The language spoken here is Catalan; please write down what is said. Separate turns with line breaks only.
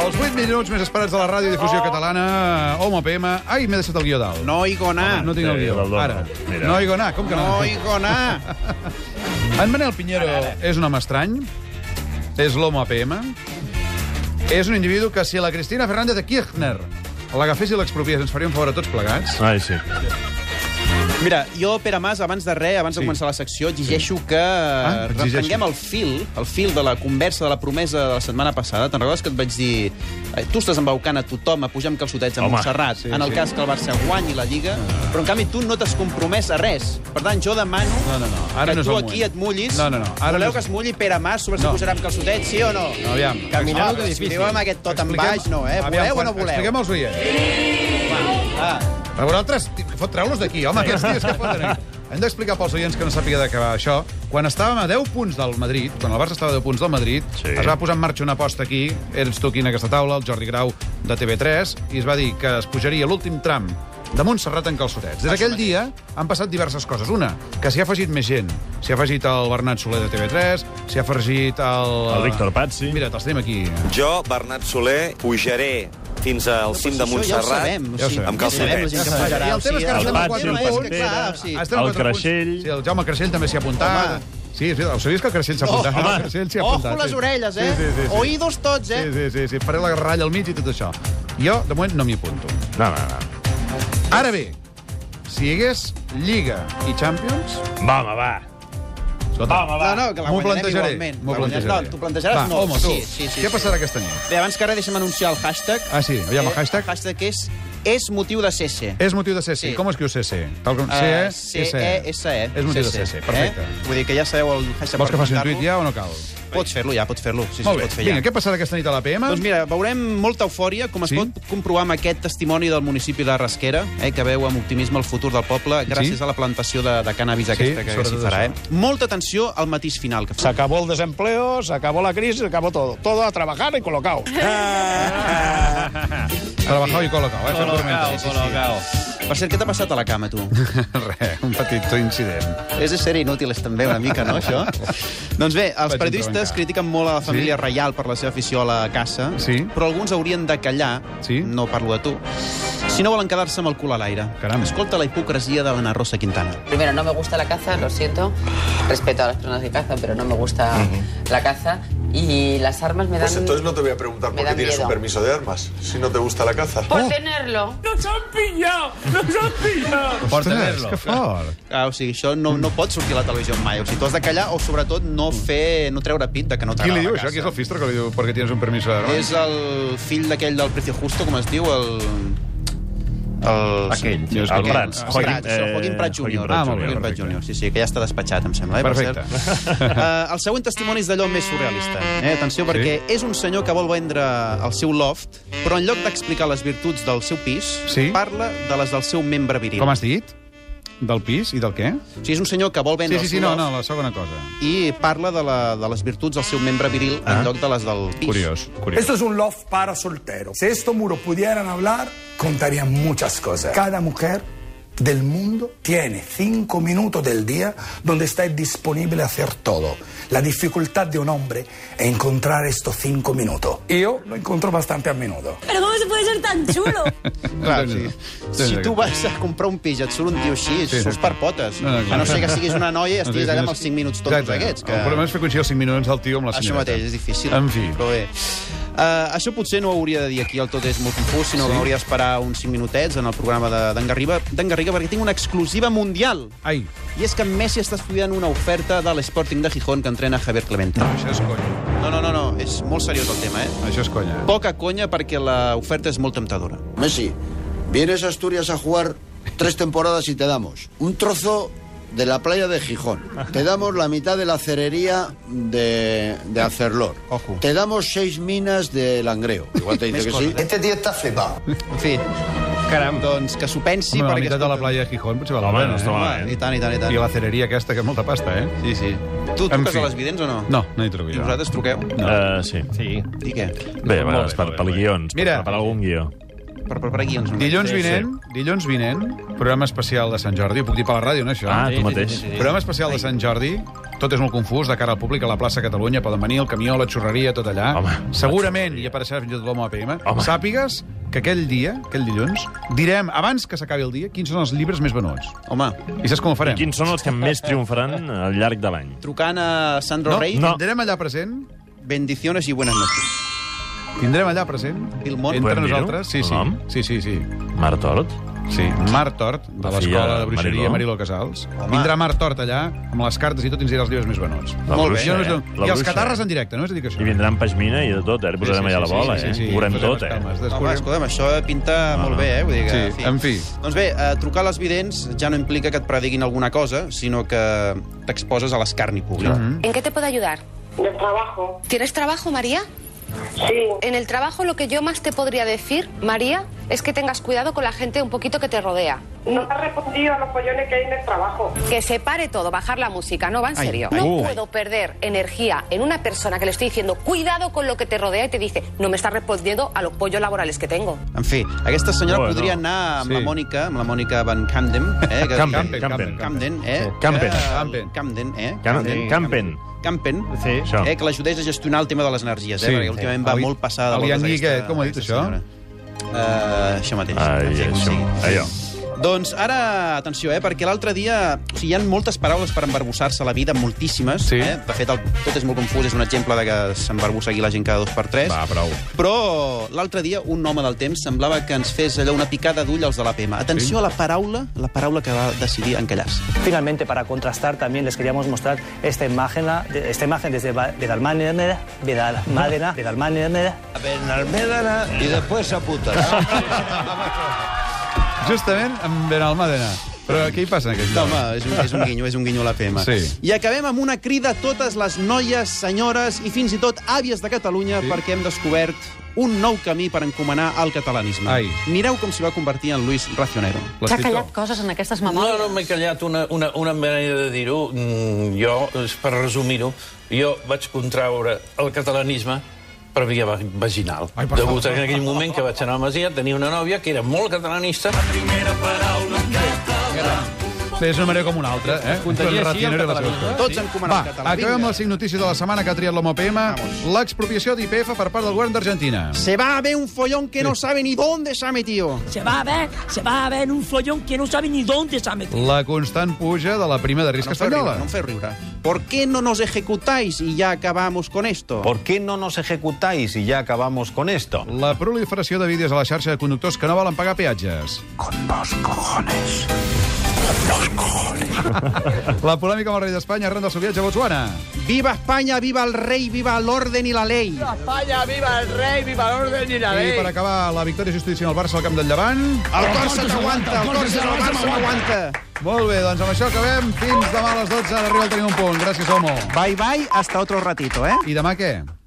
Els 8 minuts més esperats de la ràdio difusió catalana, Home PM... Ai, m'he deixat el guió dalt. Ah,
Oh. No eh, hi gonar.
No tinc el guió.
del Dom.
Ara.
Mira.
No hi gonar, com que no?
No hi gonar.
En Manel Pinheiro és un home estrany, és l'home APM, és un individu que si la Cristina Fernández de Kirchner l'agafés i l'expropiés ens faria un favor a tots
Ah.
plegats.
Ai, sí.
Mira, jo, Pere Mas, abans de res, abans sí. de començar la secció, exigeixo sí. que ah,
exigeixo.
reprenguem el fil, el fil de la conversa, de la promesa de la setmana passada. Te'n recordes que et vaig dir... eh, Tu estàs embaucant a tothom a pujar amb calçotets a
Home.
Montserrat, sí, en el sí. cas que el Barça guanyi la Lliga,
Ah.
però en canvi tu no t'has compromès a res. Per tant, jo demano
No, no, no, Ah, ara
que
no és
tu
el
aquí
moment.
et mullis.
No, no, no, ara no
Voleu
és-
que es mulli Pere Mas sobre si
No.
pujarà amb calçotets, sí o no?
No, aviam.
Camineu,
Expliquem-
que difícil. Amb aquest tot en
expliquem-
baix, no, eh?
aviam,
Voleu
quan-
o no voleu?
Expliquem als oients.
Ah.
A vosaltres, tio, fot, treu-los d'aquí, home, aquests dies que foten aquí. Hem d'explicar pels oients que no sàpiga de què va això. Quan estàvem a 10 punts del Madrid, quan el Barça estava a 10 punts del Madrid,
Sí.
sí. es va posar en marxa una aposta aquí, eres tu aquí en aquesta taula, el Jordi Grau de TV3, i es va dir que es pujaria l'últim tram de Montserrat en calçotets. Des d'aquell dia han passat diverses coses. Una, que s'hi ha afegit més gent. S'hi ha afegit el Bernat Soler de TV3, s'hi ha afegit el...
El Víctor Pazzi.
Ah. Mira, te'ls tenim aquí.
Jo, Bernat Soler, pujaré fins al cim de
Això ja ho
Montserrat.
sabem.
Ja ho
o sigui,
sabem.
Amb
ja sabem la gent que
Ja sabem. I
pujarà,
el tema
o
és
sigui,
que ara
el
estem a
Patxi,
quatre
el
punts.
Pantera, o
Estem
sigui,
a quatre
El
punts.
Creixell.
Sí, el Jaume Creixell també s'hi ha apuntat. Sí, sí, ho sabies que el Creixell s'ha apuntat?
home.
el Creixell s'hi ha apuntat.
Oh, Ojo les
sí.
orelles, eh?
Sí, sí, sí, sí.
Oídos tots, eh?
Sí, sí, sí, sí. Faré la ratlla al mig i tot això. Jo, de moment, no m'hi apunto.
No, no, no.
Ara bé, si hi hagués Lliga i Champions...
Va, home, va. Va, home, va.
No, no, Ah, que la
M'ho
guanyarem
plantejaré.
igualment.
M'ho
La guanyarem.
plantejaré.
No, tu plantejaràs?
Va,
No,
home, tu,
sí, sí, sí,
què
sí.
passarà aquesta nit?
Bé, abans que res, deixa'm anunciar el hashtag. Eh,
Ah, sí, aviam, el hashtag. Eh,
El hashtag és, és motiu de Eh, CC.
És motiu de CC.
Sí.
Com escriu CC? Tal com... E,
Eh,
CE?
C-E-S-E.
És motiu de CC, perfecte.
Eh? Vull dir que ja sabeu el hashtag
Vols que
per
faci un
comentar-lo.
tuit ja o no cal?
Pots fer-lo ja, pots fer-lo. Sí, sí,
Molt bé.
es pot fer
Vinga,
ja.
què passarà aquesta nit a la PM?
Doncs mira, veurem molta eufòria, com es
Sí?
sí? pot comprovar amb aquest testimoni del municipi de la Rasquera, eh, que veu amb optimisme el futur del poble gràcies
Sí?
sí? a la plantació de, de cannabis aquesta que s'hi
sobretot
farà.
això.
Eh? Molta atenció al matís final. Que
Se
fa.
acabó el desempleo, se acabó la crisis, se acabó todo. Todo a trabajar y colocado.
Trabajado i colocado, eh? Fem turmenta.
Per cert, què t'ha passat a la cama, tu?
Res, un petit incident.
És de ser inútils també una mica, no, això? doncs bé, els
Vaig
periodistes
entrebancar.
critiquen molt a la família
Sí?
reial per la seva afició a la caça,
Sí.
però alguns haurien de callar,
Sí?
no parlo de tu, si no volen quedar-se amb el cul a l'aire.
Caram.
Escolta la hipocresia de l'Anna Rosa Quintana.
Primero, no me gusta la caza, lo siento. Respeto a las personas que cazan, pero no me gusta la caza. Y las armas me dan...
Pues entonces no te voy a preguntar
me
por qué
da
tienes
miedo.
un permiso de armas, si no te gusta la caza.
Por tenerlo.
Per tenir-lo. Que fort.
Ah, o sigui, això no, no pot sortir a la televisió mai. O sigui, tu has de callar o, sobretot, no fer no treure pit de que no
Mm. Qui
t'agrada
li diu
la
això?
caça.
Qui és el Fistre que li diu perquè tens un permís d'arma?
És el fill d'aquell del Precio Justo, com es diu, el... El...
Aquell,
Sí,
el
aquell.
Prats.
El
Joaquim-
Prats, el Joaquim
eh,
Prats
Joaquim
Júnior.
Prats
Ah,
Júnior,
molt bé, Joaquim Prats
perfecte.
Júnior. Sí, sí, que ja està despatxat, em sembla. Eh, per
Perfecte.
cert. Eh, el següent testimoni és d'allò més surrealista. Eh, atenció, perquè és un senyor que vol vendre el seu loft, però en lloc d'explicar les virtuts del seu pis,
Sí?
parla de les del seu membre viril.
Com has dit? Del pis i del què?
O sigui, és un senyor que vol
Sí,
vendre
sí,
el
sí,
seu
no,
loft,
no, la segona cosa.
i parla de, la, de les virtuts del seu membre viril ah. en lloc de les del pis.
Curiós, curiós.
Esto es un love para soltero. Si estos muros pudieran hablar, contarían muchas cosas. Cada mujer del mundo tiene cinco minutos del día donde está disponible a hacer todo. La dificultad de un hombre es encontrar estos cinco minutos. Y yo lo encuentro bastante a menudo.
Pero ¿cómo se puede ser tan chulo?
Clar, sí.
Si tu vas a comprar un pis i et surt un tio així,
Sí,
sí, surts
sí.
per potes.
No, no,
No,
clar.
a no ser que siguis una noia i estiguis allà amb els 5 minuts tontos
Exacte.
aquests.
El problema
Que...
és fer coincidir els 5 minuts del tio amb la
Això
senyoreta.
mateix, és difícil.
En fi.
Però bé. Uh, això potser no ho hauria de dir aquí, el tot és molt confús, sinó sí? que hauria d'esperar uns 5 minutets en el programa de- d'en Garriga, d'en Garriga, perquè tinc una exclusiva mundial.
Ai,
I és que en Messi està estudiant una oferta de l'Sporting de Gijón que entrena Javier Clemente.
això és conya.
No, no, no, no, és molt seriós el tema, eh?
Això és conya.
Poca conya perquè l'oferta és molt temptadora.
Oh, Messi, vienes a Asturias a jugar tres temporadas y te damos un trozo de la playa de Gijón. Te damos la mitad de la cerería de, de Acerlor.
Ojo.
Te damos seis minas de Langreo. Igual te dice que sí. Este tío está flipado.
eh? En fi, caram, doncs que s'ho pensi...
Home, la
perquè,
meitat de la
escolta,
playa de Gijón potser val la
Home,
pena,
no està
eh?
mal.
Home, I tant, i tant, i tant.
I la cereria aquesta, que és molta pasta, eh?
Sí, sí. Tu
En
truques
fi.
a les vidents o no?
No, no hi truco
I
jo.
vosaltres truqueu?
Uh, sí.
I què?
Bé, a vegades, per, per guions, per
Mira.
preparar algun guió.
per preparar guions.
Dilluns
Sí,
vinent, dilluns vinent, programa especial de Sant Jordi. Ho puc dir per la ràdio, no, això?
Ah,
Sí,
tu
sí,
mateix.
sí, sí, sí.
Programa especial de Sant Jordi. Tot és molt confús, de cara al públic, a la plaça Catalunya, poden venir el camió, la xurreria, tot allà.
Home,
Segurament hi apareixerà fins i tot l'home APM.
Home.
Sàpigues que aquell dia, aquell dilluns, direm, abans que s'acabi el dia, quins són els llibres més venuts.
Home,
I saps com ho farem?
Quins són els que més triomfaran al llarg de l'any?
trucant a Sandro
No,
Rey,
no. Tindrem allà present,
bendiciones y buenas noches.
tindrem allà present,
Bill Mont.
entre
Podem dir-ho?
nosaltres. Sí, sí,
El nom?
sí, sí, sí.
Mar Tort?
Sí, Mar Tort, de
La
l'Escola
filla
de Bruixeria
Mariló.
Mariló Casals. Vindrà Mar Tort allà, amb les cartes i tot, i ens dirà els llibres més venuts.
La
Molt bé.
Jo
bruixa,
no us
eh?
dono-
La
I els
bruixa.
catarres en directe, només dic això.
I vindran Pashmina i de tot, eh? Ara posarem allà la bola, eh? Ho veurem
Posarem les
tot, eh?
cames,
Home,
descobrim-
escolta'm, això pinta molt bé, eh? Vull dir que,
Sí, en fi.
Doncs bé, eh, trucar a les vidents ja no implica que et prediguin alguna cosa, sinó que t'exposes a l'escarni públic.
¿En qué te puedo ayudar?
Del trabajo.
¿Tienes trabajo, María?
Sí.
En el trabajo lo que yo más te podría decir, María, es que tengas cuidado con la gente un poquito que te rodea.
No te ha respondido a los pollones que hay en el trabajo.
Que se pare todo, bajar la música, no va en
Ay,
serio.
ay,
no
ay.
puedo perder energía en una persona que le estoy diciendo cuidado con lo que te rodea y te dice no me estás respondiendo a los pollos laborales que tengo.
En fi, aquesta senyora bueno,
Bueno,
podria anar amb
sí.
la Mònica, amb la Mònica Van Camden, eh? Que,
Campen,
Campen,
Campen.
Camden, eh?
Campen.
Que-
Campen.
Camden, eh?
Campen. Campen.
Campen.
Sí, això.
Eh, que l'ajudés a gestionar el tema de les energies, eh?
Sí.
perquè últimament va
El-
molt passada. de
el
voltes
Ian Lee,
aquesta-
què- com ho ha dit,
aquesta
això?
senyora. Eh, això mateix.
Ai,
En fi, com
això,
sigui.
allò.
Doncs ara, atenció, eh, perquè l'altre dia... O sigui, hi ha moltes paraules per embarbussar-se a la vida, moltíssimes.
Sí.
Eh? De fet, el, tot és molt confús, és un exemple de que s'embarbussa aquí la gent cada dos per tres.
Va, prou.
Però l'altre dia un home del temps semblava que ens fes allò una picada d'ull als de l'APM. Atenció sí. a la paraula, la paraula que va decidir encallar-se.
Finalmente, para contrastar, también les queríamos mostrar esta imagen, la- de- esta imagen desde Ba- de Dalmanera, de Dalmanera, de Dalmanera.
Y después a putas.
Justament amb Benalmádena. Però què hi passa en aquest
No,
lloc?
home, és un, és un guinyo, és un guinyo a l'APM.
Sí.
I acabem amb una crida a totes les noies, senyores i fins i tot àvies de Catalunya
Sí.
sí. perquè hem descobert un nou camí per encomanar al catalanisme.
Ai.
Mireu com s'hi va convertir en Luis Racionero.
L'escriptor.
cosas en estas
No, no, m'he callat una, una, una manera de dir-ho. Mm, jo, és per resumir-ho, jo vaig contraure el catalanisme per via va- vaginal.
Ai,
Ai,
per
degut a
favor.
que en aquell moment que vaig anar a Masia, tenia una nòvia que era molt catalanista.
És una manera com una altra, eh?
Contagia
Però
així el
Ratinero era la seva
catalanisme.
cosa.
Tots encomanar
Va,
al català.
acabem amb les 5 notícies de la setmana que ha triat l'home PM, l'expropiació d'IPF per part del govern d'Argentina.
Se va a ver un follón que no sabe ni dónde se ha metido.
Se va a ver, se va a ver un follón que no sabe ni dónde se ha metido.
La constant puja de la prima de risc
No em feu riure,
espanyola.
no em feu riure. ¿Por qué no nos ejecutáis y ya acabamos con esto?
¿Por qué no nos ejecutáis y ya acabamos con esto?
La proliferació de vídeos a la xarxa de conductors que no volen pagar peatges. Con dos cojones. Los cojones. La polèmica amb el rei d'Espanya arran del seu viatge a Botswana.
Viva España, viva el rey, viva el orden y la ley.
I per acabar, la victòria justícia al Barça al camp del Llevant.
El Corsa t'aguanta, el Corsa del Barça m'aguanta.
Molt bé, doncs amb això acabem. Fins demà a les 12 d'arriba al Tenim un punt. Gràcies, Homo.
Bye bye, hasta otro ratito, eh?
I demà què?